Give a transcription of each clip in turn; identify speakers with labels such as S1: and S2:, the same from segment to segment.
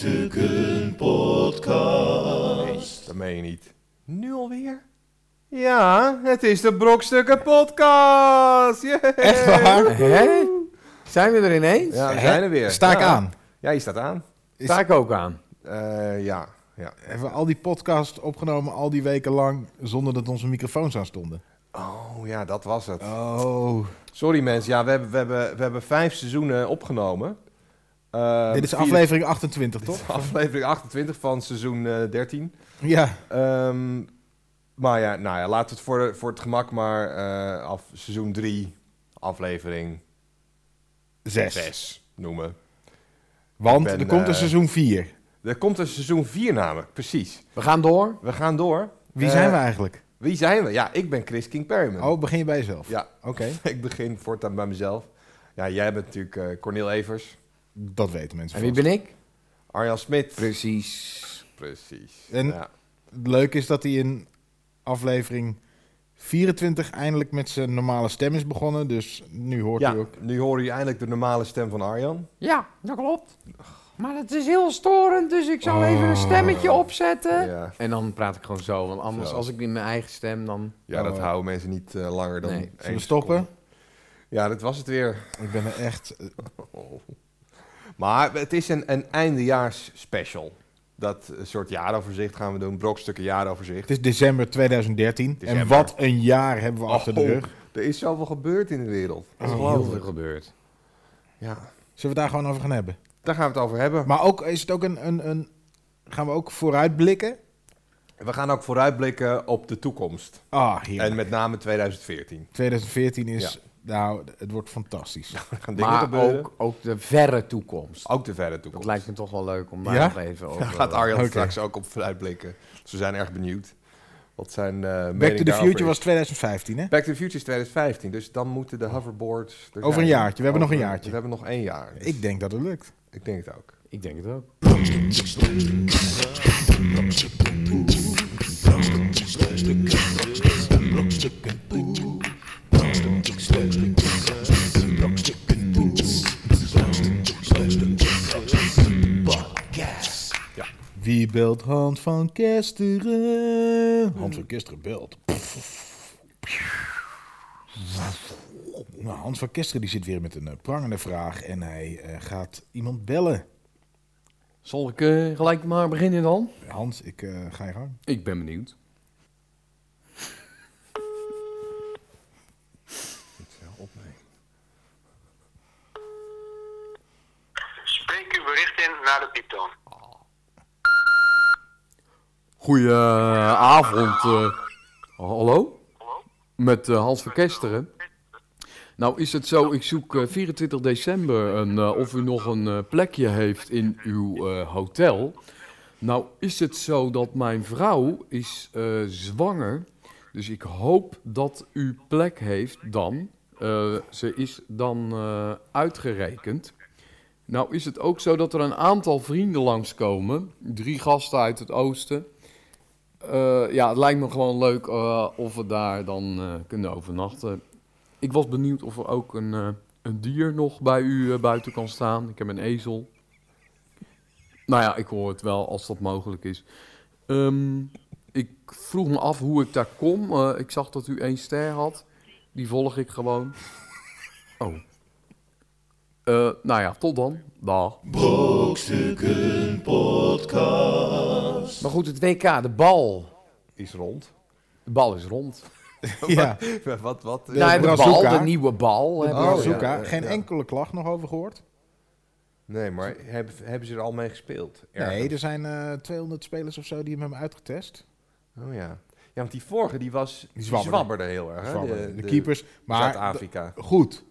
S1: Brokstukken Podcast.
S2: Dat meen je niet. Nu alweer?
S3: Ja, het is de Brokstukken Podcast. Jee.
S1: Echt waar?
S4: Hè? Zijn we er ineens?
S2: Ja, we
S1: Hè?
S2: zijn er weer.
S1: Sta ik
S2: Ja.
S1: aan.
S2: Ja, je staat aan.
S1: Is-
S4: Sta ik ook aan.
S2: Eh, ja. ja.
S1: Hebben we al die podcasts opgenomen al die weken lang zonder dat onze microfoons aan stonden?
S2: Oh ja, dat was het.
S1: Oh.
S2: Sorry mensen, ja, we hebben, we, hebben, we hebben vijf seizoenen opgenomen. Eh,
S1: Dit is
S2: vier-
S1: aflevering 28,
S2: dit is
S1: toch?
S2: aflevering 28 van seizoen eh, 13.
S1: Ja.
S2: Ehm, maar ja, nou ja, laten we het voor, de- voor het gemak maar eh, af, seizoen 3, aflevering
S1: Zes.
S2: 6 noemen.
S1: Want
S2: Ik ben,
S1: er komt een
S2: eh,
S1: seizoen 4.
S2: Er komt een seizoen 4 namelijk, precies.
S4: We gaan door.
S2: We gaan door.
S1: Wie
S2: Eh,
S1: zijn we eigenlijk?
S2: Wie zijn we? Ja, ik ben Chris King Perryman.
S1: Oh, begin je bij jezelf.
S2: Ja,
S1: Oké,
S2: ik begin voortaan bij mezelf. Ja, jij bent natuurlijk eh Cornel Evers,
S1: dat weten mensen.
S4: En wie
S1: vast.
S4: ben ik?
S2: Arjan Smit.
S4: Precies.
S2: Precies.
S1: En-
S2: Ja.
S1: Leuk is dat hij in aflevering 24 eindelijk met zijn normale stem is begonnen. Dus nu hoort
S2: Ja,
S1: u ook.
S2: nu hoor je eindelijk de normale stem van Arjan.
S4: Ja, dat klopt. Maar het is heel storend, dus ik zal
S1: Oh.
S4: even een stemmetje opzetten.
S2: Ja,
S4: En dan praat ik gewoon zo, want anders
S2: Zo.
S4: als ik in mijn eigen stem dan...
S2: ja dat
S1: Oh.
S2: houden mensen niet eh, langer dan
S4: Nee.
S2: één
S1: Zullen we stoppen?
S2: seconde. Ja, dat was het weer.
S1: Ik ben er echt...
S2: Maar het is een, een eindejaars special. Dat eh, soort jaaroverzicht gaan we doen, brokstukken jaaroverzicht.
S1: Het is december 2013. En
S2: December.
S1: wat een jaar hebben we achter de
S2: Oh.
S1: rug.
S2: Er is zoveel gebeurd in de wereld.
S4: Er is heel veel gebeurd.
S2: Ja,
S1: Zullen we daar gewoon over gaan hebben?
S2: daar gaan we het over hebben.
S1: Maar ook, is het ook een, een, een... Gaan we ook vooruitblikken?
S2: We gaan ook vooruitblikken op de toekomst.
S1: Ah, hier.
S2: En met name 2014.
S1: 2014 is... Nou, het wordt fantastisch.
S2: Er gaan dingen
S4: Maar
S2: gebeuren.
S4: ook, ook de verre toekomst.
S2: Ook de verre toekomst.
S4: Dat lijkt me toch wel leuk om daar
S1: Ja?
S4: nog even over...
S2: Daar gaat Arjan
S1: Oké.
S2: straks ook op vooruitblikken. Dus we zijn erg benieuwd. Wat zijn eh
S1: Back
S2: mening
S1: to the
S2: daarover
S1: Future
S2: is.
S1: was 2015, hè?
S2: Back to the Future is 2015. Dus dan moeten de hoverboards... er
S1: Over een
S2: zijn.
S1: jaartje. We hebben nog een jaartje.
S2: We hebben nog één jaar. Dus
S1: Ik denk dat het lukt.
S2: ik denk het ook.
S4: eh, Ik denk het ook.
S1: Wie belt Hans van Kesteren? Hans van Kesteren belt. Nou, Hans van Kesteren die zit weer met een eh, prangende vraag en hij eh, gaat iemand bellen.
S4: Zal ik eh, gelijk maar beginnen dan?
S1: Hans, ik eh, ga je gang.
S4: Ik ben benieuwd.
S5: Spreek uw bericht in naar de pieptoon.
S4: Goedenavond. eh, hallo?
S5: Hallo?
S4: Met eh, Hans van Kesteren. Nou is het zo, ik zoek eh, 24 december een, eh, of u nog een eh, plekje heeft in uw eh, hotel. Nou is het zo dat mijn vrouw is eh, zwanger. Dus ik hoop dat u plek heeft dan. Eh, ze is dan eh, uitgerekend. Nou is het ook zo dat er een aantal vrienden langskomen. Drie gasten uit het oosten. Eh, ja, het lijkt me gewoon leuk eh, of we daar dan eh, kunnen overnachten. Ik was benieuwd of er ook een, eh, een dier nog bij u eh, buiten kan staan. Ik heb een ezel. Nou ja, ik hoor het wel als dat mogelijk is. Ehm, ik vroeg me af hoe ik daar kom. Eh, ik zag dat u één ster had. Die volg ik gewoon. Oh. Eh, nou ja, tot dan. Dag. Maar goed, het WK, de bal.
S2: Is rond.
S4: De bal is rond.
S1: Ja,
S2: wat, wat?
S1: Ja,
S4: nou, de bal,
S1: Brazuca.
S4: de nieuwe bal. hè.
S2: Oh,
S1: Brazuca.
S2: ja, ja,
S1: Geen
S2: ja.
S1: enkele klacht nog over gehoord.
S2: Nee, maar hebben, hebben ze er al mee gespeeld?
S1: Nee,
S2: Ergens.
S1: er zijn eh, 200 spelers of zo die hem hebben uitgetest.
S2: Oh ja. Ja, want die vorige die was... Die
S1: zwabberde.
S2: zwabberde heel erg. hè?
S1: Zwabberen, Ah, de, keepers. Maar
S2: Zuid-Afrika.
S1: d- goed.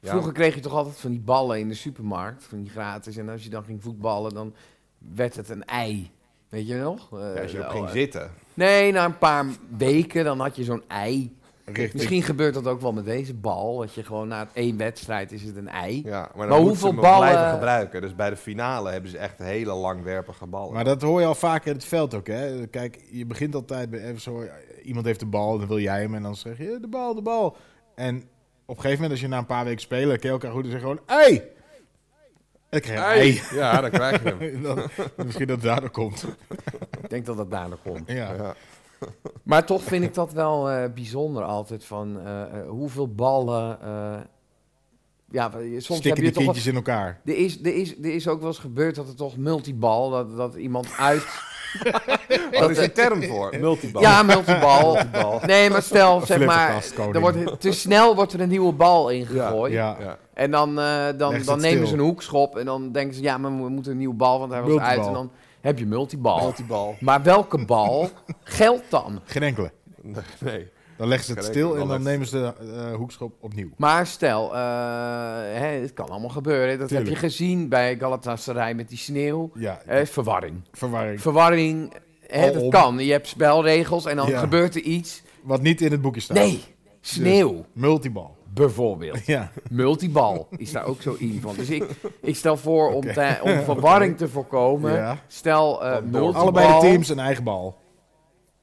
S2: Ja.
S4: Vroeger kreeg je toch altijd van die ballen in de supermarkt, van die gratis. En als je dan ging voetballen, dan werd het een ei. Weet je nog? Eh,
S2: Ja, als je
S4: zo,
S2: op ging
S4: eh.
S2: zitten.
S4: Nee, na een paar weken dan had je zo'n ei.
S1: Richting.
S4: Misschien gebeurt dat ook wel met deze bal. Dat je gewoon na één wedstrijd is het een ei.
S2: Ja, maar dan
S4: Maar
S2: moeten
S4: hoeveel
S2: ze hem ook blijven
S4: ballen-
S2: gebruiken. Dus bij de finale hebben ze echt hele langwerpige ballen.
S1: Maar dat hoor je al vaker in het veld ook. Hè? Kijk, je begint altijd bij even zo. Iemand heeft de bal, dan wil jij hem. En dan zeg je de bal, de bal. En op een gegeven moment, als je na een paar weken spelen, ken je elkaar goed en zeg je gewoon: Hey! Dan krijg je
S6: Ei.
S2: Ja, dan krijg je hem.
S1: ei. Dan- misschien dat het daardoor komt.
S4: Ik denk dat dat daarna komt.
S1: Ja.
S2: Ja.
S4: Maar toch vind ik dat wel eh, bijzonder altijd van eh, eh, hoeveel ballen. eh, ja, we- soms
S1: Stikken die
S4: heb je toch. wel-
S1: kindjes in elkaar.
S4: Er is, er, is, er is ook wel eens gebeurd dat er toch multibal, dat, dat iemand uit.
S2: Daar is een term voor. Multibal.
S4: Ja, multibal. nee, maar stel, zeg maar,
S1: flipperkastkoning.
S4: er wordt, te snel wordt er een nieuwe bal ingegooid.
S1: Ja.
S2: Ja.
S4: En dan, eh,
S1: Legt
S4: dan,
S1: het
S4: dan nemen ze
S1: stil.
S4: een hoekschop en dan denken ze, ja, maar we moeten een nieuwe bal, want hij was
S1: Multibal.
S4: uit. En dan heb je multibal.
S2: Oh. Multibal.
S4: maar welke bal geldt dan?
S1: Geen enkele.
S2: Nee.
S1: Dan leggen ze het
S2: Geen
S1: stil
S2: enkele,
S1: en
S2: dan
S1: dan nemen ze de eh, hoekschop opnieuw.
S4: Maar stel, eh, hè, het kan allemaal gebeuren. Dat heb
S1: Tuurlijk.
S4: je gezien bij Galatasaray met die sneeuw.
S1: Ja,
S4: Eh, verwarring.
S1: verwarring.
S4: Verwarring, hè, dat
S1: Alom.
S4: kan. Je hebt spelregels en dan
S1: Oh, Ja. Dus-
S4: gebeurt er iets.
S1: Wat niet in het boekje staat.
S4: Nee, sneeuw
S1: Multibal.
S4: bijvoorbeeld.
S1: Ja.
S4: Multibal is daar ook zo in van. Dus ik, ik stel voor om, te- om verwarring te voorkomen.
S1: Ja.
S4: Stel eh multibal.
S1: Allebei de teams een eigen bal.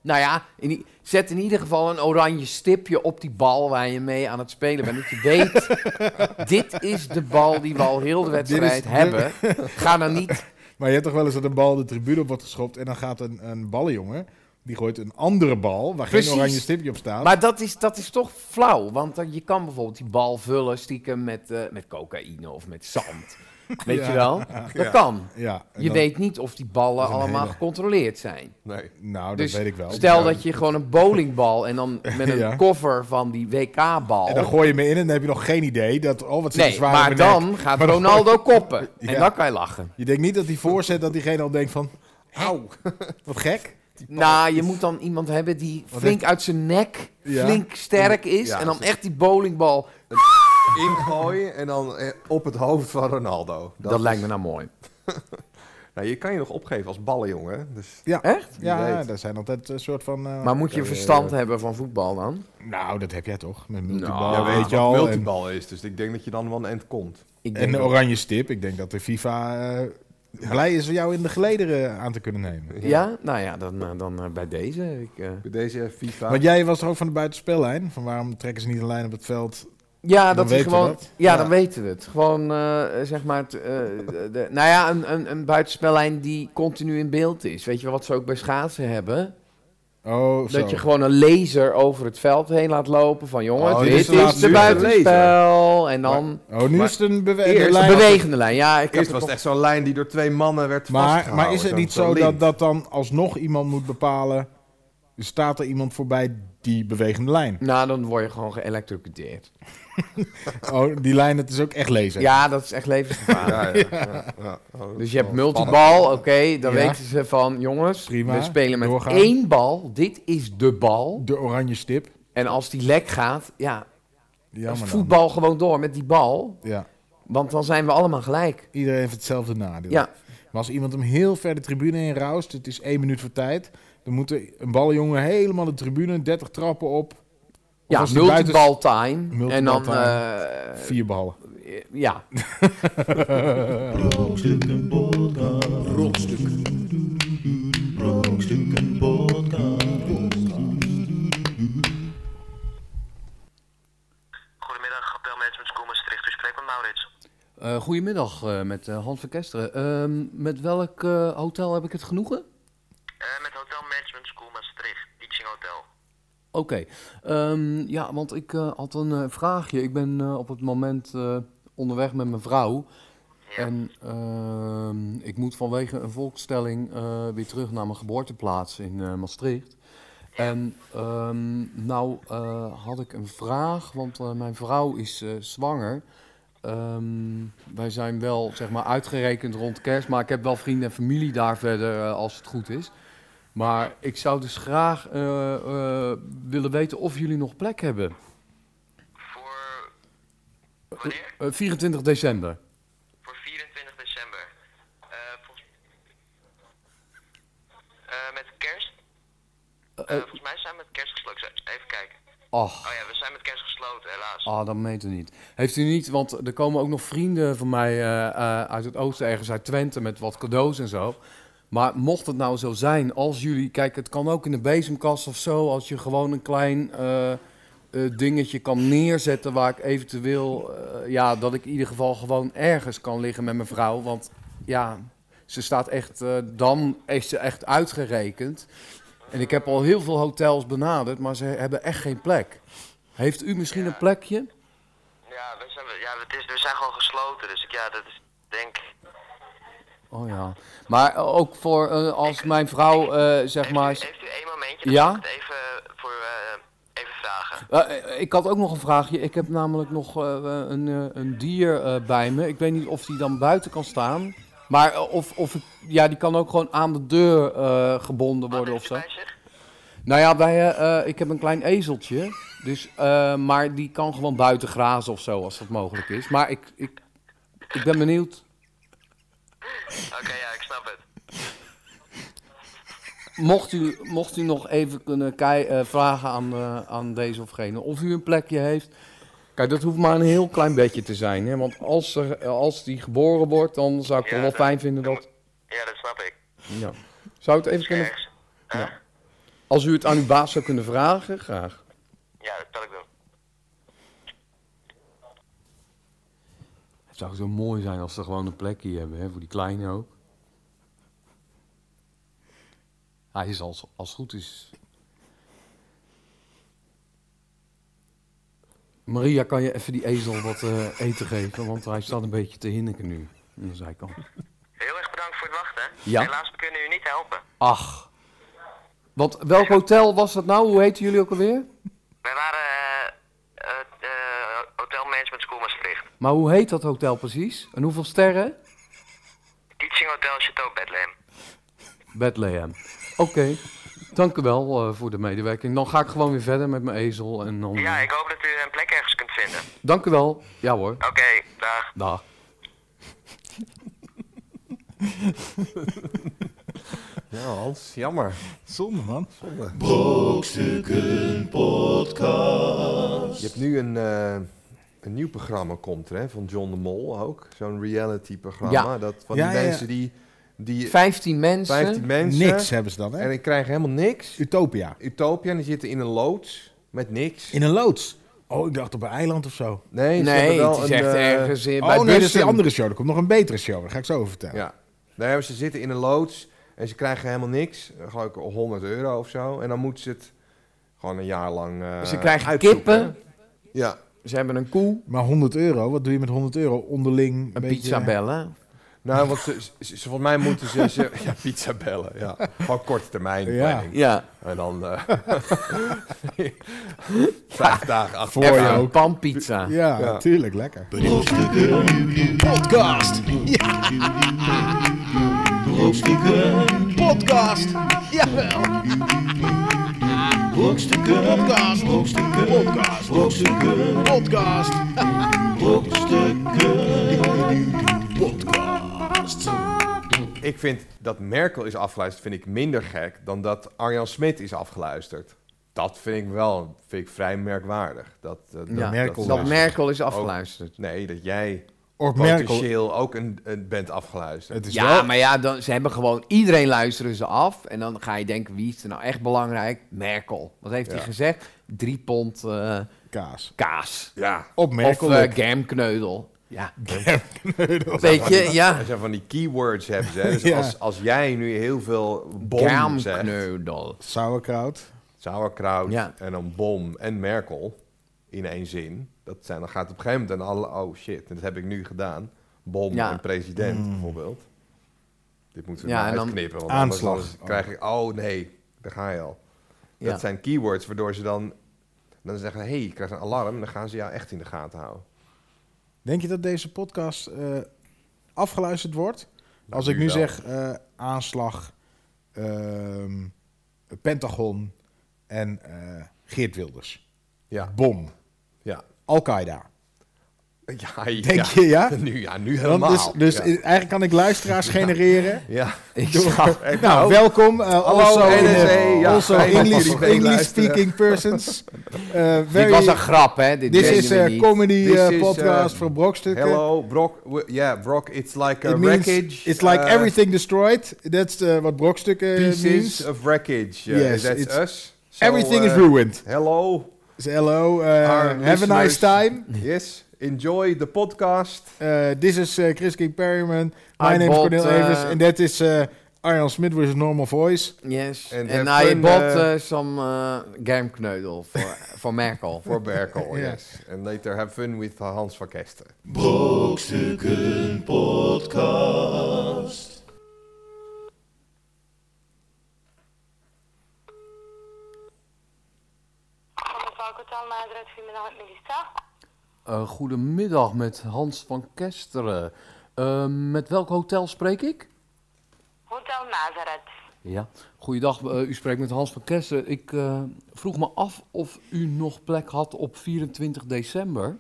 S4: Nou ja, in i- zet in ieder geval een oranje stipje op die bal waar je mee aan het spelen bent. Dat je weet, dit is de bal die we al heel de wedstrijd
S1: de-
S4: hebben. Ga dan niet...
S1: Maar je hebt toch wel eens dat een bal de tribune op wordt geschopt en dan gaat een, een ballenjongen, die gooit een andere bal waar
S4: Precies.
S1: geen oranje stipje op staat.
S4: Maar dat is, dat is toch flauw. Want dan, je kan bijvoorbeeld die bal vullen stiekem met, eh, met cocaïne of met zand. Weet
S1: Ja.
S4: je wel? Dat kan.
S1: ja, en
S4: Je
S1: dan-
S4: weet niet of die ballen
S1: een
S4: allemaal
S1: hele-
S4: gecontroleerd zijn.
S2: Nee.
S1: Nou, dat
S4: Dus
S1: weet ik wel.
S4: Stel dat je gewoon een bowlingbal en dan met een
S1: Ja.
S4: cover van die
S1: En dan
S4: WK-bal.
S1: gooi je me in en dan heb je nog geen idee dat, oh wat zit er
S4: Nee,
S1: zwaar
S4: maar
S1: in mijn nek.
S4: dan gaat
S1: Maar dan-
S4: Ronaldo koppen.
S1: Ja.
S4: En dan kan je lachen.
S1: Je denkt niet dat die voorzet dat diegene al denkt van, auw, wat gek.
S4: Nou, je moet dan iemand hebben die flink uit zijn nek,
S1: Oh, Ja.
S4: flink sterk is.
S2: Ja,
S4: en dan echt die bowlingbal.
S2: Ingooien en dan eh, op het hoofd van Ronaldo.
S4: Dat,
S2: is-
S4: lijkt me nou mooi.
S2: Nou, je kan je nog opgeven als ballenjongen. Dus
S4: Echt?
S2: Wie
S1: Ja,
S2: weet.
S1: daar zijn altijd een soort van... eh,
S4: Maar moet je
S2: eh,
S4: verstand hebben van voetbal dan?
S1: Nou, dat heb jij toch, met multibal,
S4: Nou,
S2: ja,
S1: Ah, weet je al.
S2: wat
S1: en-
S2: multibal is. Dus ik denk dat je dan wel een eind komt.
S4: Ik
S1: En
S4: denk
S1: een
S4: dat-
S1: oranje stip. Ik denk dat de FIFA eh, blij is om jou in de gelederen aan te kunnen nemen.
S4: ja, nou ja, dan, eh, dan eh, bij deze. Ik, eh,
S2: Bij deze FIFA.
S1: Want jij was er ook van de buitenspellijn. Van waarom trekken ze niet een lijn op het veld?
S4: Ja,
S1: Dan
S4: dat is
S1: weten we
S4: gewoon.
S1: dat.
S4: Ja,
S2: Ja.
S4: dan weten we het. Gewoon, eh, zeg maar, t- eh, de, nou ja, een, een, een buitenspellijn die continu in beeld is. Weet je wel wat ze ook bij schaatsen hebben?
S1: Oh, zo.
S4: Dat je gewoon een laser over het veld heen laat lopen van jongen,
S2: Oh,
S4: dit
S2: dit
S4: is
S2: is de
S4: de,
S2: laatste uur.
S4: buitenspel. En dan
S1: Oh, nu
S2: Maar
S1: is het een bewe-
S2: eerst
S1: de
S4: een
S1: lijn.
S4: bewegende lijn. Ja, ik heb
S2: Eerst
S4: het
S2: was het
S4: nog-
S2: echt zo'n lijn die door twee mannen werd
S1: Maar,
S2: vastgehouden.
S1: maar is het niet zo dat, dat dan alsnog iemand moet bepalen... staat er iemand voorbij die bewegende lijn?
S4: Nou, dan word je gewoon geëlektrocuteerd.
S1: Oh, die lijn, dat is ook echt lezen.
S4: Ja, dat is echt levensgevaarlijk.
S2: Ja, ja, ja, ja. Oh, dat
S4: Dus
S2: is
S4: je hebt
S2: wel spannend.
S4: multibal, oké,
S1: Ja.
S4: dan weten ze van jongens,
S1: Prima,
S4: we spelen met
S1: doorgaan.
S4: één bal. Dit is de bal.
S1: De oranje stip.
S4: En als die lek gaat, ja,
S1: Jammer dan.
S4: voetbal gewoon door met die bal.
S1: Ja.
S4: Want dan zijn we allemaal gelijk.
S1: Iedereen heeft hetzelfde nadeel.
S4: Ja,
S1: Maar als iemand hem heel ver de tribune in roust, het is één minuut voor tijd, dan moet er een ballenjongen helemaal de tribune, 30 trappen op. Of
S4: ja
S1: als die buiten-
S4: multibal time.
S1: Multibal
S4: En dan,
S1: time.
S4: eh,
S1: Vier ballen.
S4: ja.
S7: Brokstukken podcast. Brokstukken. Brokstukken podcast.
S5: Goedemiddag, Abel Management School Maastricht. U spreekt met Maurits.
S6: Eh, goedemiddag eh, met eh, Hans van Kesteren. Ehm, met welk eh, hotel heb ik het genoegen?
S5: Eh, met Hotel Management School Maastricht, Teaching Hotel.
S6: Oké. Ehm, ja, want ik eh, had een eh, vraagje. Ik ben eh, op het moment eh, onderweg met mijn vrouw.
S5: Ja.
S6: En ehm, ik moet vanwege een volkstelling eh, weer terug naar mijn geboorteplaats in eh, Maastricht. En ehm, nou eh, had ik een vraag, want eh, mijn vrouw is eh, zwanger. Ehm, wij zijn wel zeg maar uitgerekend rond kerst, maar ik heb wel vrienden en familie daar verder eh, als het goed is. Maar ik zou dus graag eh, eh, willen weten of jullie nog plek hebben.
S5: Voor... Wanneer?
S6: Eh, 24 december.
S5: Voor 24 december. Eh, volgens- Eh, met kerst? Eh, volgens mij zijn we met kerst gesloten. Even kijken.
S6: Ach.
S5: Oh ja, we zijn met kerst gesloten, helaas.
S6: Ah, dat meet u niet. Heeft u niet, want er komen ook nog vrienden van mij eh, eh, uit het oosten, ergens uit Twente, met wat cadeaus en zo. Maar mocht het nou zo zijn, als jullie, kijk, het kan ook in de bezemkast of zo, als je gewoon een klein eh,
S4: eh, dingetje kan neerzetten waar ik eventueel, eh, ja, dat ik in ieder geval gewoon ergens kan liggen met mijn vrouw. Want ja, ze staat echt, eh, dan is ze echt uitgerekend. En ik heb al heel veel hotels benaderd, maar ze hebben echt geen plek. Heeft u misschien een plekje?
S5: Ja, we zijn, ja het is, we zijn gewoon gesloten, dus ik, ja, dat is, denk...
S4: Oh ja. Maar ook voor eh, als mijn vrouw, eh, zeg
S5: Heeft,
S4: maar.
S5: u,
S4: z-
S5: heeft u één momentje? Dan
S4: Ja?
S5: ga ik het even, voor, eh, even vragen.
S4: Eh, ik had ook nog een vraagje. Ik heb namelijk nog eh, een, eh, een dier eh, bij me. Ik weet niet of die dan buiten kan staan. Maar eh, of, of ik, ja, die kan ook gewoon aan de deur eh, gebonden worden of
S5: Wat
S4: zo.
S5: heeft u bij zich?
S4: Nou ja, wij, eh, eh, ik heb een klein ezeltje. Dus, eh, maar die kan gewoon buiten grazen of zo, als dat mogelijk is. Maar ik, ik, ik ben benieuwd.
S5: Oké, ja, ik snap het.
S4: Mocht u, mocht u nog even kunnen kei- eh, vragen aan, eh, aan deze of gene of u een plekje heeft. Kijk, dat hoeft maar een heel klein beetje te zijn. Hè? Want als, er, eh, als die geboren wordt, dan zou ik het
S5: Ja,
S4: wel
S5: dat-
S4: fijn vinden dat...
S5: Ja, dat snap ik.
S4: Ja. Zou het even kunnen...
S5: Ergens.
S4: Als u het aan uw baas zou kunnen vragen, graag.
S5: Ja, dat kan ik doen.
S8: Het zou zo mooi zijn als ze gewoon een plekje hebben, hè, voor die kleine ook. Hij is als, als het goed is.
S4: Maria, kan je even die ezel wat eh, eten geven? Want hij staat een beetje te hinniken nu. Aan de zijkant.
S5: Heel erg bedankt voor het wachten.
S4: Ja.
S5: Helaas, we kunnen u niet helpen.
S4: Ach. Want welk hotel was dat nou? Hoe heten jullie ook alweer?
S5: Wij waren eh het eh, Hotel Management School Maastricht.
S4: Maar hoe heet dat hotel precies? En hoeveel sterren?
S5: Teaching Hotel Chateau Bethlehem.
S4: Bethlehem. Oké, dank u wel eh, voor de medewerking. Dan ga ik gewoon weer verder met mijn ezel. En dan, eh,
S5: Ja, ik hoop dat u een plek ergens kunt vinden.
S4: Dank u wel. Ja hoor,
S5: Oké, dag.
S4: dag.
S2: Ja, Hans, jammer.
S1: Zonde, man.
S7: Brokstukken Podcast.
S2: Je hebt nu een, eh, een nieuw programma komt er, hè, van John de Mol ook. Zo'n reality programma.
S4: Ja.
S2: Dat van
S1: Ja,
S2: die
S1: ja, ja.
S2: mensen die... die
S4: 15 mensen.
S2: 15 mensen.
S1: Niks
S4: eh,
S1: hebben ze dan,
S2: En
S1: hè?
S2: ik krijg helemaal niks.
S1: Utopia.
S2: Utopia, en die zitten in een loods met niks.
S1: In een loods. Oh, ik dacht op een eiland of zo.
S2: Nee, ze hebben
S4: Nee,
S2: wel
S4: het is
S2: een,
S4: echt
S2: eh,
S4: ergens in,
S1: oh,
S4: bij
S1: nee, dat is die
S4: Bussum.
S1: andere show. Er komt nog een betere show. Daar ga ik zo over vertellen.
S2: Ja. Nee, maar ze zitten in een loods en ze krijgen helemaal niks. Eh, Geloof ik 100 euro of zo. En dan moeten ze het gewoon een jaar lang eh,
S4: Ze krijgen
S2: uitzoeken.
S4: kippen.
S2: Ja.
S4: Ze hebben een koe,
S1: Maar 100 euro, wat doe je met 100 euro? Onderling
S4: een
S1: beetje-
S4: pizza bellen.
S2: Nou, want ze, ze- ze- volgens mij moeten ze... ze ja, pizza bellen, ja. Gewoon korte termijn
S1: Ja.
S2: planning.
S4: Ja,
S2: En dan... eh, vijf dagen achter
S1: Voor je
S2: elkaar.
S4: een panpizza.
S1: Ja,
S2: Ja.
S1: natuurlijk, lekker.
S7: Brokstukken Podcast. Brokstukken Podcast. Jawel. Brokstukken Podcast. Brokstukken Podcast. Brokstukken Podcast. Brokstukken Podcast.
S2: Ik vind dat Merkel is afgeluisterd vind ik minder gek dan dat Arjan Smit is afgeluisterd. Dat vind ik wel vind ik vrij merkwaardig. Dat, eh, dat,
S4: Ja,
S1: Merkel
S4: Dat
S1: was.
S4: Merkel is afgeluisterd.
S2: Nee, dat jij
S1: Of Merkel.
S2: potentieel ook een, een bent afgeluisterd.
S1: Het is
S4: Ja,
S1: wel...
S4: maar ja, dan, ze hebben gewoon... Iedereen luisteren ze af. En dan ga je denken, wie is er nou echt belangrijk? Merkel. Wat heeft hij
S2: Ja.
S4: gezegd? Drie pond eh,
S1: Kaas.
S4: kaas.
S2: Ja.
S1: Op Merkel.
S4: of eh,
S1: op.
S4: gamkneudel. Ja,
S2: Van
S4: weet je,
S2: die-
S4: ja.
S2: Dat zijn van die keywords hebben ze. hè. Dus
S1: Ja.
S2: als, als jij nu heel veel bom zegt,
S4: Gamkneudel.
S1: Sauerkraut.
S2: sauerkraut
S4: Ja.
S2: en dan bom en Merkel in één zin. Dat zijn, dan gaat op een gegeven moment dan alle, oh shit, dat heb ik nu gedaan. Bom
S4: Ja.
S2: en president
S1: Mm.
S2: bijvoorbeeld. Dit moeten we
S4: Ja,
S2: ja,
S4: en dan-
S2: uitknippen. Want anders
S1: Aanslag.
S2: dan krijg ik, oh nee, daar ga je al.
S4: Ja.
S2: Dat zijn keywords waardoor ze dan, dan zeggen, hé, hey, je krijgt een alarm. Dan gaan ze jou echt in de gaten houden.
S1: Denk je dat deze podcast eh, afgeluisterd wordt?
S2: Nou,
S1: Als ik
S2: nu
S1: nu
S2: wel.
S1: zeg eh, aanslag, ehm, Pentagon en eh, Geert Wilders.
S2: Ja,
S1: Bom.
S2: ja.
S1: Al-Qaeda.
S2: Ja,
S1: Denk
S2: ja.
S1: je, ja?
S2: Nu, ja, nu
S1: Dan
S2: helemaal.
S1: dus dus
S2: ja.
S1: eigenlijk kan ik luisteraars genereren.
S2: Ja.
S4: Ik
S1: Door-
S4: zou-
S1: nou, welkom. eh, also in,
S2: NSA,
S1: eh,
S2: ja,
S1: also
S2: fijn dat
S1: English,
S2: jullie meeluisteren.
S1: English speaking persons. Eh,
S4: Dit
S1: very-
S4: was een grap, hè? Dit
S1: This
S4: deden
S1: is
S4: we
S1: a
S4: niet.
S1: comedy
S2: This
S1: eh,
S2: is,
S1: podcast
S2: eh,
S1: voor Brokstukken.
S2: Hello, Brock. w- Yeah, Brock, it's like a
S1: It means
S2: wreckage.
S1: It's like
S2: uh,
S1: everything destroyed. That's eh, what Brokstukken
S2: Pieces
S1: means.
S2: of wreckage. Uh,
S1: Yes,
S2: that's
S1: it's-
S2: us. So,
S1: Everything
S2: uh,
S1: is ruined.
S2: Hello.
S1: Dus hello, eh,
S2: Our
S1: have a nice
S2: listeners.
S1: time.
S2: Yes, enjoy the podcast.
S1: Uh, this is uh, Chris King Perryman. My
S9: I
S1: name is
S9: bought,
S1: Cornel
S9: uh,
S1: Evers. And that is uh, Arjan Smit with his normal voice.
S9: Yes.
S2: And
S9: En,
S2: have
S9: hij
S2: fun,
S9: bought
S2: eh,
S9: eh, some eh, germkneudel voor, voor Merkel.
S2: Voor Berkel,
S1: Ja.
S2: yes. And later have fun with uh, Hans van Kesteren.
S7: Brokstukken Podcast.
S10: Valkotan, maar eruit goedemiddag met Melissa.
S4: Eh, goedemiddag met Hans van Kesteren. Eh, met welk hotel spreek ik?
S10: Hotel Nazareth.
S4: Ja. Goeiedag, eh, u spreekt met Hans van Kesteren. Ik eh, vroeg me af of u nog plek had op 24 december.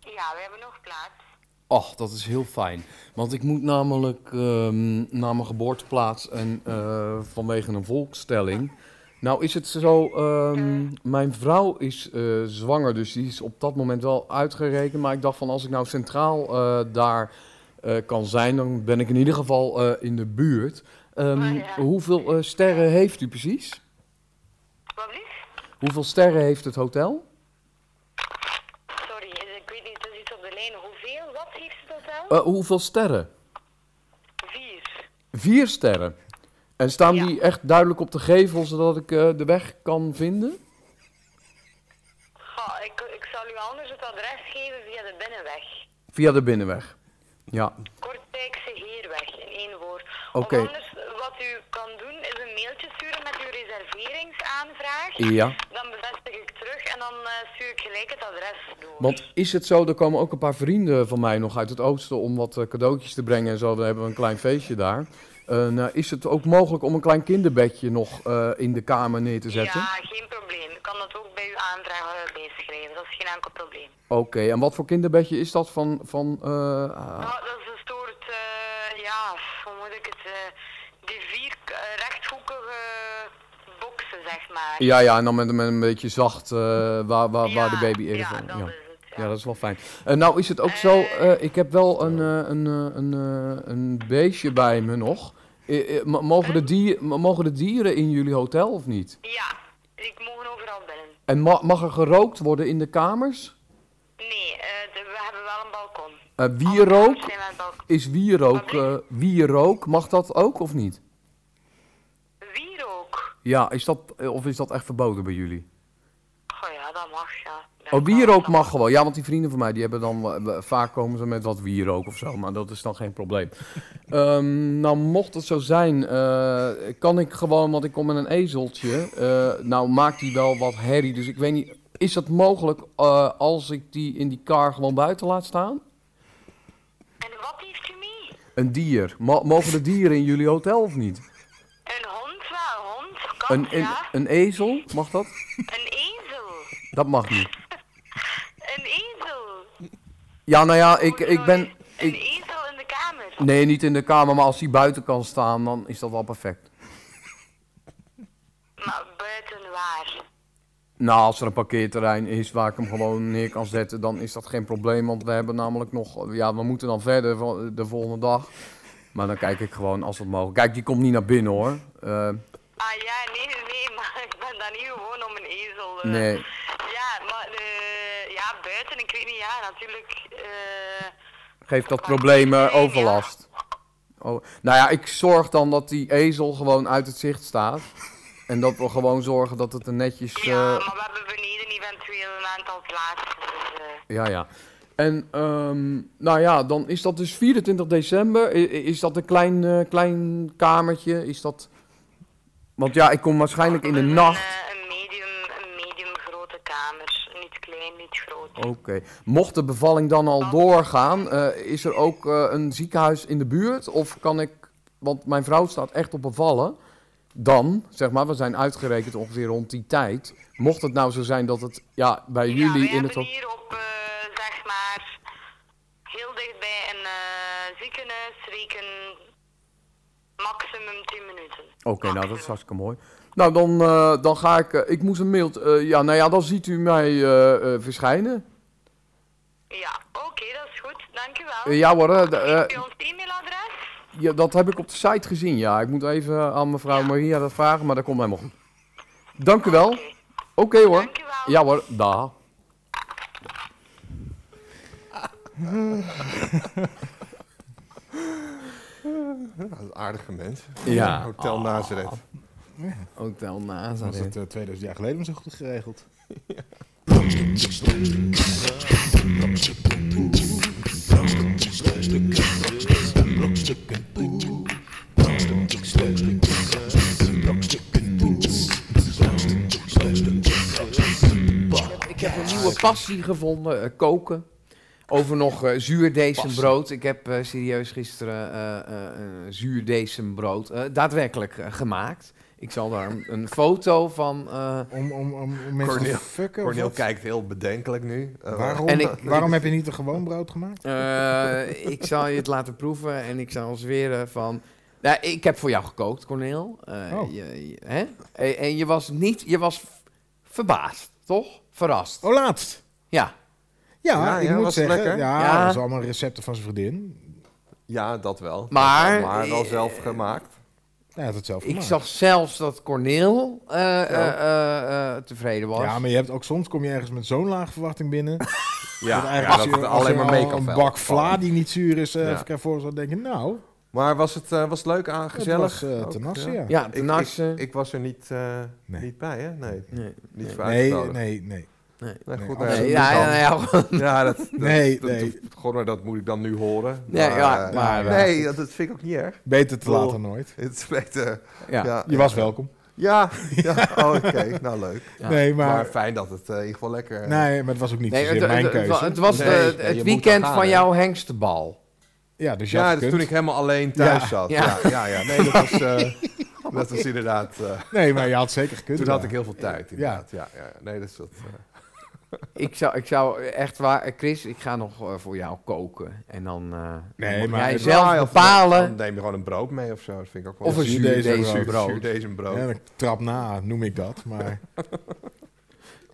S10: Ja, we hebben nog plaats.
S4: Ach, dat is heel fijn. Want ik moet namelijk ehm, naar mijn geboorteplaats en eh, vanwege een volkstelling. Nou is het zo, ehm, mijn vrouw is eh, zwanger, dus die is op dat moment wel uitgerekend. Maar ik dacht van als ik nou centraal eh, daar eh, kan zijn, dan ben ik in ieder geval eh, in de buurt. Ehm,
S10: Maar ja.
S4: Hoeveel eh, sterren heeft u precies?
S10: Wat blieft?
S4: Hoeveel sterren heeft het hotel?
S10: Sorry, is- ik weet niet, er is iets op de lijn. Hoeveel? Wat heeft het hotel?
S4: Eh, hoeveel sterren?
S10: Vier.
S4: Vier sterren. En staan
S10: Ja.
S4: die echt duidelijk op de gevel, zodat ik eh, de weg kan vinden?
S10: Goh, ik, ik zal u anders het adres geven via de binnenweg.
S4: Via de binnenweg. Ja.
S10: Kortijkse Heerweg, in één woord.
S4: Oké.
S10: Of anders, wat u kan doen, is een mailtje sturen met uw reserveringsaanvraag.
S4: Ja.
S10: Dan bevestig ik terug en dan eh, stuur ik gelijk het adres door.
S4: Want is het zo, er komen ook een paar vrienden van mij nog uit het oosten om wat eh, cadeautjes te brengen en zo. Dan hebben we een klein feestje daar. Eh, nou, is het ook mogelijk om een klein kinderbedje nog eh, in de kamer neer te zetten?
S10: Ja, geen probleem. Ik kan dat ook bij uw aanvraag eh, bijschrijven. Dat is geen enkel probleem.
S4: Oké, en wat voor kinderbedje is dat van... van eh,
S10: Nou, dat is een soort, eh, ja, hoe moet ik het, eh, die vier eh, rechthoekige boksen, zeg maar.
S4: Ja, ja, en dan met, met een beetje zacht eh, waar, waar, waar de baby eerder
S10: Ja,
S4: van...
S10: dat is het. Ja.
S4: Ja, dat is wel fijn. Eh, nou is het ook zo, eh, ik heb wel een, eh, een, eh, een, eh, een beestje bij me nog. Eh, eh, m- mogen, de dier, m- mogen de dieren in jullie hotel of niet?
S10: ja, ik mogen overal binnen.
S4: En ma- mag er gerookt worden in de kamers?
S10: Nee, eh, de- we hebben wel een balkon.
S4: Eh
S10: Alle kamers
S4: wierook?
S10: zijn met een balkon.
S4: Is wierook, eh wierook, mag dat ook of niet?
S10: Wierook?
S4: Ja, is dat, eh, of is dat echt verboden bij jullie?
S10: Goh Oh ja, dat mag, ja. Dat
S4: Oh,
S10: kan,
S4: wierook
S10: dat
S4: mag gewoon. Ja, want die vrienden van mij, die hebben dan... eh, eh, vaak komen ze met wat wierook of zo, maar dat is dan geen probleem. Ehm, nou, mocht het zo zijn, eh, kan ik gewoon... Want ik kom met een ezeltje. eh, nou, maakt die wel wat herrie, dus ik weet niet... Is dat mogelijk eh, als ik die in die kar gewoon buiten laat staan?
S10: En wat heeft u mee?
S4: Een dier. Mo- mogen de dieren in jullie hotel of niet?
S10: Een hond wel, een hond, kat,
S4: Een, een,
S10: ja.
S4: een ezel, mag dat?
S10: Een ezel.
S4: Dat mag niet.
S10: Een ezel.
S4: Ja, nou ja, ik, ik ben...
S10: Een
S4: Ik,
S10: ezel in de kamer.
S4: nee, niet in de kamer, maar als die buiten kan staan, dan is dat wel perfect.
S10: Maar buiten waar?
S4: Nou, als er een parkeerterrein is waar ik hem gewoon neer kan zetten, dan is dat geen probleem. Want we hebben namelijk nog. Ja, we moeten dan verder van- de volgende dag. Maar dan kijk ik gewoon als het mogelijk. Kijk, die komt niet naar binnen hoor. Eh,
S10: Ah ja, nee, nee, maar ik ben dan niet gewoon om een ezel. eh.
S4: nee.
S10: Ja, maar eh, ja, buiten, ik weet niet, ja, natuurlijk. eh,
S4: Geeft dat problemen overlast? Oh, nou ja, ik zorg dan dat die ezel gewoon uit het zicht staat. En dat we gewoon zorgen dat het er netjes.
S10: ja,
S4: eh,
S10: maar we hebben beneden eventueel een aantal plaatsen. Dus, eh,
S4: Ja, ja. En ehm, nou ja, dan is dat dus 24 december. I- i- Is dat een klein, eh, klein kamertje? Is dat... Want ja, ik kom waarschijnlijk in de
S10: een,
S4: nacht.
S10: eh, een, medium, een medium grote kamer. Niet klein, niet groot.
S4: Oké. Mocht de bevalling dan al doorgaan, eh, is er ook eh, een ziekenhuis in de buurt? Of kan ik... Want mijn vrouw staat echt op bevallen. Dan, zeg maar, we zijn uitgerekend ongeveer rond die tijd. Mocht het nou zo zijn dat het ja, bij
S10: ja, wij
S4: jullie in
S10: hebben
S4: het... hot-
S10: hier op, eh, zeg maar, heel dichtbij een eh, ziekenhuis reken maximum 10 minuten.
S4: Oké, nou dat is hartstikke mooi. Nou, dan, eh, dan ga ik. eh, ik moest een mail. eh, ja, nou ja, dan ziet u mij eh, eh, verschijnen.
S10: Ja, oké, dat is goed. Dankjewel.
S4: Eh, ja hoor, eh, d- eh,
S10: Heb je ons e-mailadres?
S4: ja, dat heb ik op de site gezien. Ja, ik moet even aan mevrouw Maria dat vragen, maar dat komt helemaal goed. Dank u wel.
S10: Oké.
S4: Oké hoor.
S10: Dankjewel.
S4: Ja hoor, da.
S2: Een aardige mens.
S4: Ja.
S2: Hotel
S1: Ah,
S2: Nazareth.
S4: Hotel
S1: Was het
S4: Nazareth.
S2: uh,
S1: eh,
S2: dus
S1: 2000 jaar geleden maar zo goed geregeld?
S11: Ik heb een nieuwe passie gevonden, eh, koken. Over nog eh zuurdesembrood. Ik heb eh, serieus gisteren eh, eh, een zuurdesembrood eh, daadwerkelijk eh, gemaakt. Ik zal daar een, een foto van... eh,
S1: Om, om, om, om mensen
S2: Cornel-
S1: te fucken? of
S2: Cornel
S1: wat?
S2: kijkt heel bedenkelijk nu. Eh,
S1: Waarom,
S11: En ik-
S1: waarom heb je niet een gewoon brood gemaakt?
S11: Eh, ik zal je het laten proeven en ik zal zweren van... Nou, ik heb voor jou gekookt, Corneel. Eh,
S1: Oh.
S11: je- je- hè? En, en je was niet... Je was v- verbaasd, toch? Verrast.
S1: Oh, laatst!
S11: Ja.
S1: Ja,
S2: Ja,
S1: ik
S2: ja,
S1: moet
S2: was het
S1: zeggen,
S2: lekker?
S1: ja,
S11: Ja.
S1: dat is allemaal recepten van zijn vriendin.
S2: Ja, dat wel.
S11: Maar-
S2: maar wel
S11: eh,
S2: zelf gemaakt.
S1: Hij had het zelf
S11: Ik
S1: gemaakt.
S11: zag zelfs dat Corneel eh, eh, eh, eh, tevreden was.
S1: Ja, maar je hebt ook soms kom je ergens met zo'n laag verwachting binnen. dat,
S2: Ja,
S1: eigenlijk
S2: ja, dat
S1: als
S2: het
S1: je-
S2: alleen
S1: als
S2: maar
S1: je
S2: mee
S1: al
S2: kan
S1: Een
S2: vallen.
S1: bak vla die niet zuur is, eh
S2: Ja.
S1: even voor zou denken, nou,
S2: Maar was het, eh, was het leuk aan,
S1: het
S2: gezellig?
S1: was eh
S2: Ook,
S1: te nassen,
S2: ja.
S1: ja.
S11: Ja,
S2: Ik, ik,
S11: nassen.
S2: ik was er niet, eh,
S1: Nee.
S2: niet bij, hè? Nee,
S11: Nee.
S2: niet voor
S1: Nee,
S2: uitgenodigd.
S1: nee, nee.
S2: Nee,
S1: nee,
S2: goed,
S1: absoluut
S2: nee,
S11: Nee, ja, ja, ja,
S2: Ja, dat, dat,
S1: Nee,
S2: dat,
S1: nee.
S2: dat- God, maar dat moet ik dan nu horen.
S11: Nee,
S2: maar,
S11: ja,
S2: eh,
S11: maar,
S1: eh,
S2: nee dat, dat vind ik ook niet erg.
S1: Beter te
S2: Cool.
S1: laat dan nooit.
S2: Het is beter.
S11: ja.
S2: Ja,
S1: Je was welkom.
S2: Ja, ja, oh, oké, nou leuk.
S11: Ja.
S1: Nee,
S2: Maar,
S1: maar,
S2: fijn dat het eh, in ieder geval lekker... eh,
S1: nee, maar het was ook niet
S11: Nee,
S1: zozeer
S11: het,
S1: mijn
S11: het- het
S1: keuze.
S11: wa- het was
S2: Nee,
S11: eh,
S2: ja, je
S11: het
S2: moet
S11: weekend
S2: dan gaan,
S11: van
S2: hè.
S11: jouw hengstenbal.
S1: ja, dus je
S2: Ja,
S1: had
S2: dat is
S1: gekund.
S2: toen ik helemaal alleen thuis
S1: Ja.
S2: zat. Ja,
S11: Ja.
S2: ja, ja, Nee, dat was, eh, dat was inderdaad... eh,
S1: Nee, maar je had zeker gekund.
S2: toen
S1: ja.
S2: had ik heel veel tijd, inderdaad. Ja, ja, nee, dat is wat... eh,
S11: Ik zou, ik zou echt waar, eh, Chris, ik ga nog eh, voor jou koken. En dan eh
S1: Nee,
S11: moet
S1: maar
S11: jij
S1: het-
S11: zelf
S2: ja, of- Oh, Dan
S11: bepalen.
S2: neem je gewoon een brood mee of zo. Dat vind ik ook wel...
S11: Of een
S1: Zuur deze
S11: zuurdesembrood.
S1: brood.
S2: Zuur deze brood.
S1: Ja, een trap na noem ik dat, maar...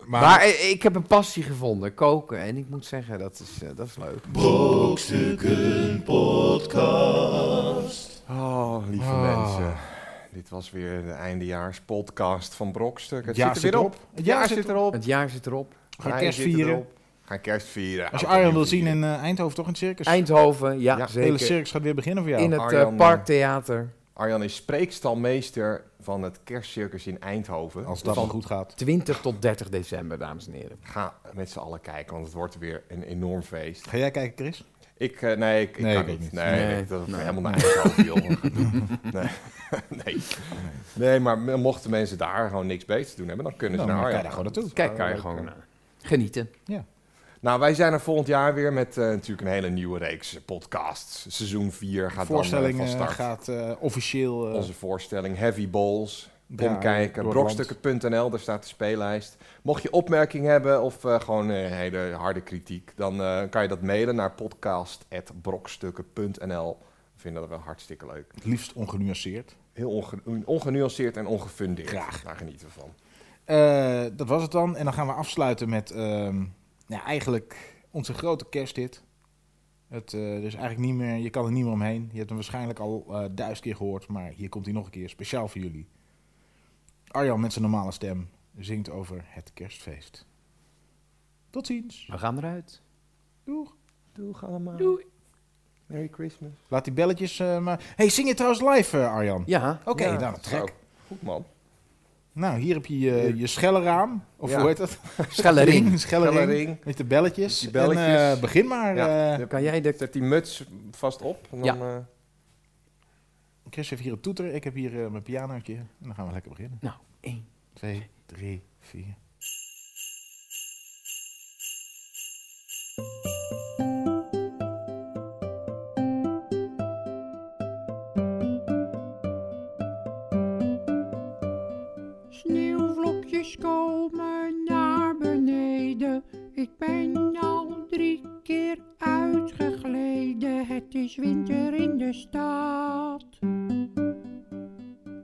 S1: maar,
S11: Maar eh, ik heb een passie gevonden, koken. En ik moet zeggen, dat is, eh, dat is leuk.
S7: Brokstukken Podcast.
S2: Oh, lieve
S1: Ah.
S2: mensen. Dit was weer de eindejaarspodcast van Brokstuk. Het
S1: Ja,
S2: zit er
S1: zit
S2: weer
S1: erop.
S2: op.
S1: Het
S2: Het
S1: jaar
S2: jaar
S1: zit
S2: zit erop.
S11: Het jaar zit erop.
S1: Ga
S2: Hij
S1: kerst
S2: zit erop.
S1: vieren.
S2: Ga kerst vieren.
S1: als je
S2: Oud en
S1: Arjan
S2: nieuw
S1: wil zien in
S2: vieren.
S1: eh, Eindhoven, toch een circus?
S11: Eindhoven, ja,
S2: Ja,
S1: Het hele
S11: zeker.
S1: circus gaat weer beginnen voor jou.
S11: In het
S2: Arjan,
S11: eh,
S2: eh,
S11: Parktheater.
S2: Arjan is spreekstalmeester van het kerstcircus in Eindhoven.
S1: Als dat
S2: van,
S1: maar goed gaat.
S11: 20 tot 30 december, dames en heren.
S2: Ga met z'n allen kijken, want het wordt weer een enorm feest.
S1: Ga jij kijken, Chris?
S2: Ik, eh, nee, ik, ik
S1: Nee,
S2: kan
S1: ik ook
S2: niet.
S1: niet.
S2: Nee,
S11: Nee.
S2: ik- dat is helemaal naar eigen joh. nee. nee. nee, maar mochten mensen daar gewoon niks beter te doen hebben, dan kunnen ze
S1: Nou,
S2: naar
S1: dan kan
S2: Arjan.
S1: je daar gewoon naartoe.
S11: Kijk,
S2: Ja,
S11: kan je
S2: leuk,
S11: gewoon
S2: ja.
S11: eh, genieten.
S2: Nou, wij zijn er volgend jaar weer met eh, natuurlijk een hele nieuwe reeks eh, podcasts. Seizoen 4 gaat
S1: Voorstelling
S2: dan eh, van
S1: eh,
S2: start.
S1: gaat eh, officieel... eh,
S2: Onze voorstelling Heavy Balls. Kom
S1: draaien
S2: kijken,
S1: door het land.
S2: brokstukken.nl, daar staat de speellijst. Mocht je opmerkingen hebben of eh, gewoon eh, hele harde kritiek, dan eh, kan je dat mailen naar podcast.brokstukken.nl. We vinden dat wel hartstikke leuk.
S1: Het liefst ongenuanceerd.
S2: Heel onge- ongenuanceerd en ongefundeerd.
S1: Graag.
S2: Daar genieten we van.
S1: Eh, dat was het dan. En dan gaan we afsluiten met ehm, ja, eigenlijk onze grote kersthit. Het, eh, er is eigenlijk niet meer, je kan er niet meer omheen. Je hebt hem waarschijnlijk al eh, duizend keer gehoord, maar hier komt hij nog een keer speciaal voor jullie. Arjan met zijn normale stem zingt over het kerstfeest. Tot ziens.
S11: We gaan eruit.
S1: Doeg.
S2: Doeg allemaal.
S11: Doei.
S2: Merry Christmas.
S1: Laat die belletjes eh, maar... hey, zing je trouwens live, eh, Arjan?
S11: Ja.
S1: Oké,
S2: Ja,
S1: nou,
S2: zo.
S1: trek.
S2: Goed man.
S1: Nou, hier heb je je, je schellenraam. Of
S2: Ja.
S1: hoe heet dat?
S11: Schellering.
S1: Schellenring.
S2: Schellering.
S1: Met de belletjes.
S2: Die belletjes.
S1: En eh, begin maar.
S2: Ja.
S1: eh,
S11: Kan jij de...
S2: Zet die muts vast op. En dan, eh,
S1: Chris heeft hier een toeter, ik heb hier eh, mijn pianootje. En dan gaan we lekker beginnen.
S11: Nou, één.
S1: Twee, drie, vier.
S12: Sneeuwvlokjes komen naar beneden. Ik ben al drie keer uitgegleden. Het is winter in de stad.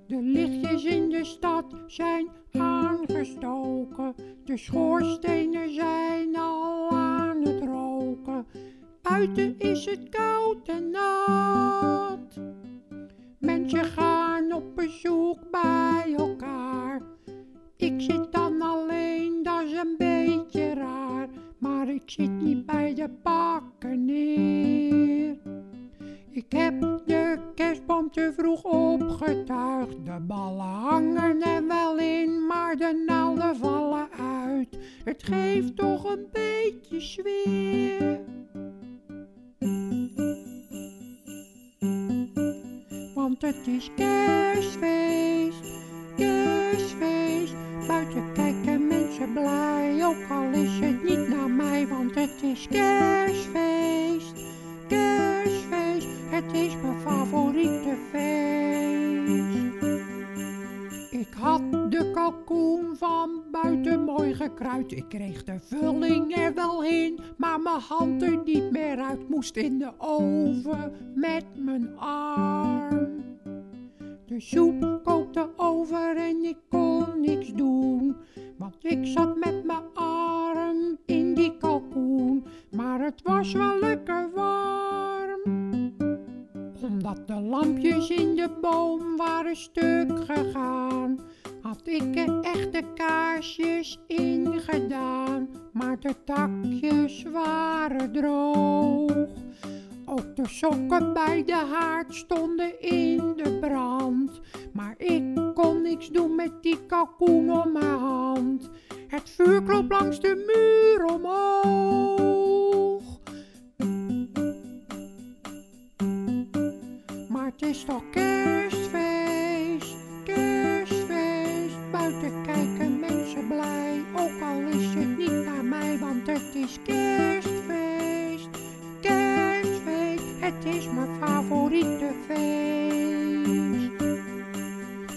S12: De lichtjes in de stad zijn aangestoken. De schoorstenen zijn al aan het roken. Buiten is het koud en nat. Mensen gaan op bezoek bij elkaar. Ik zit dan alleen. ik zit niet bij de bakken neer. Ik heb de kerstboom te vroeg opgetuigd. De ballen hangen er wel in, maar de naalden vallen uit. Het geeft toch een beetje sfeer. Want het is kerstfeest, kerstfeest. Buiten kijken mensen blij, ook al is het niet naar mij. Want het is kerstfeest, kerstfeest. Het is mijn favoriete feest. Ik had de kalkoen van buiten mooi gekruid. Ik kreeg de vulling er wel in, maar mijn hand er niet meer uit. Moest in de oven met mijn arm. De soep kookte over en ik kon niks doen. Want ik zat met mijn arm in die kalkoen. Maar het was wel lekker warm. Omdat de lampjes in de boom waren stuk gegaan. Had ik er echte kaarsjes in gedaan. Maar de takjes waren droog. Ook de sokken bij de haard stonden in de brand. Maar ik kon niks doen met die kalkoen om mijn hand. Het vuur kroop langs de muur omhoog. Maar het is toch kerstfeest, kerstfeest. Buiten kijken mensen blij, ook al is het niet naar mij, want het is kerstfeest, kerstfeest. Het is mijn favoriete feest.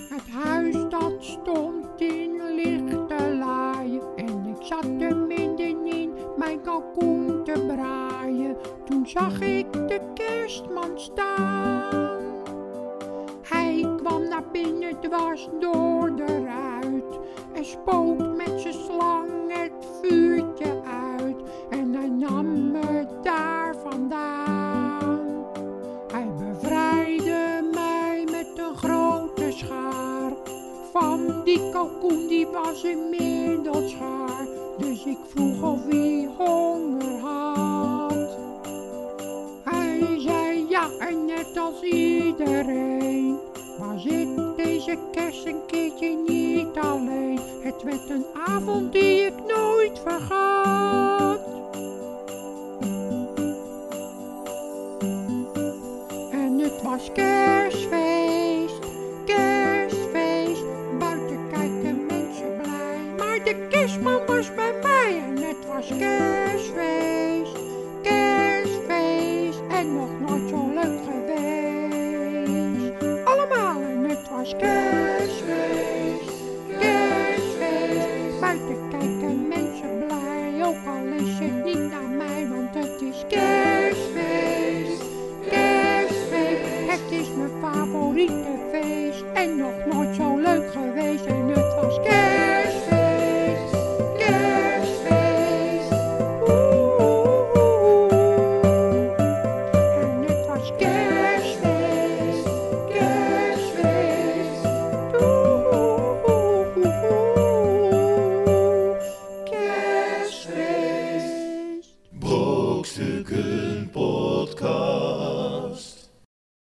S12: Het huis dat stond in lichte laaien en ik zat er middenin mijn kalkoen te braaien. Toen zag ik de kerstman staan. Hij kwam naar binnen dwars door de ruit en spoot met zijn slang het vuurtje uit en hij nam me daar vandaan. Hij bevrijdde mij met een grote schaar. Van die kalkoen die was inmiddels schaar. Dus ik vroeg of hij honger had. Hij zei ja en net als iedereen was ik deze kerst een keertje niet alleen. Het werd een avond die ik nooit vergat. En het was kerstfeest, kerstfeest. Buiten kijken mensen blij. Maar de kerstman was bij mij en het was kerstfeest, kerstfeest. En nog nooit zo leuk geweest. Allemaal en het was kerstfeest.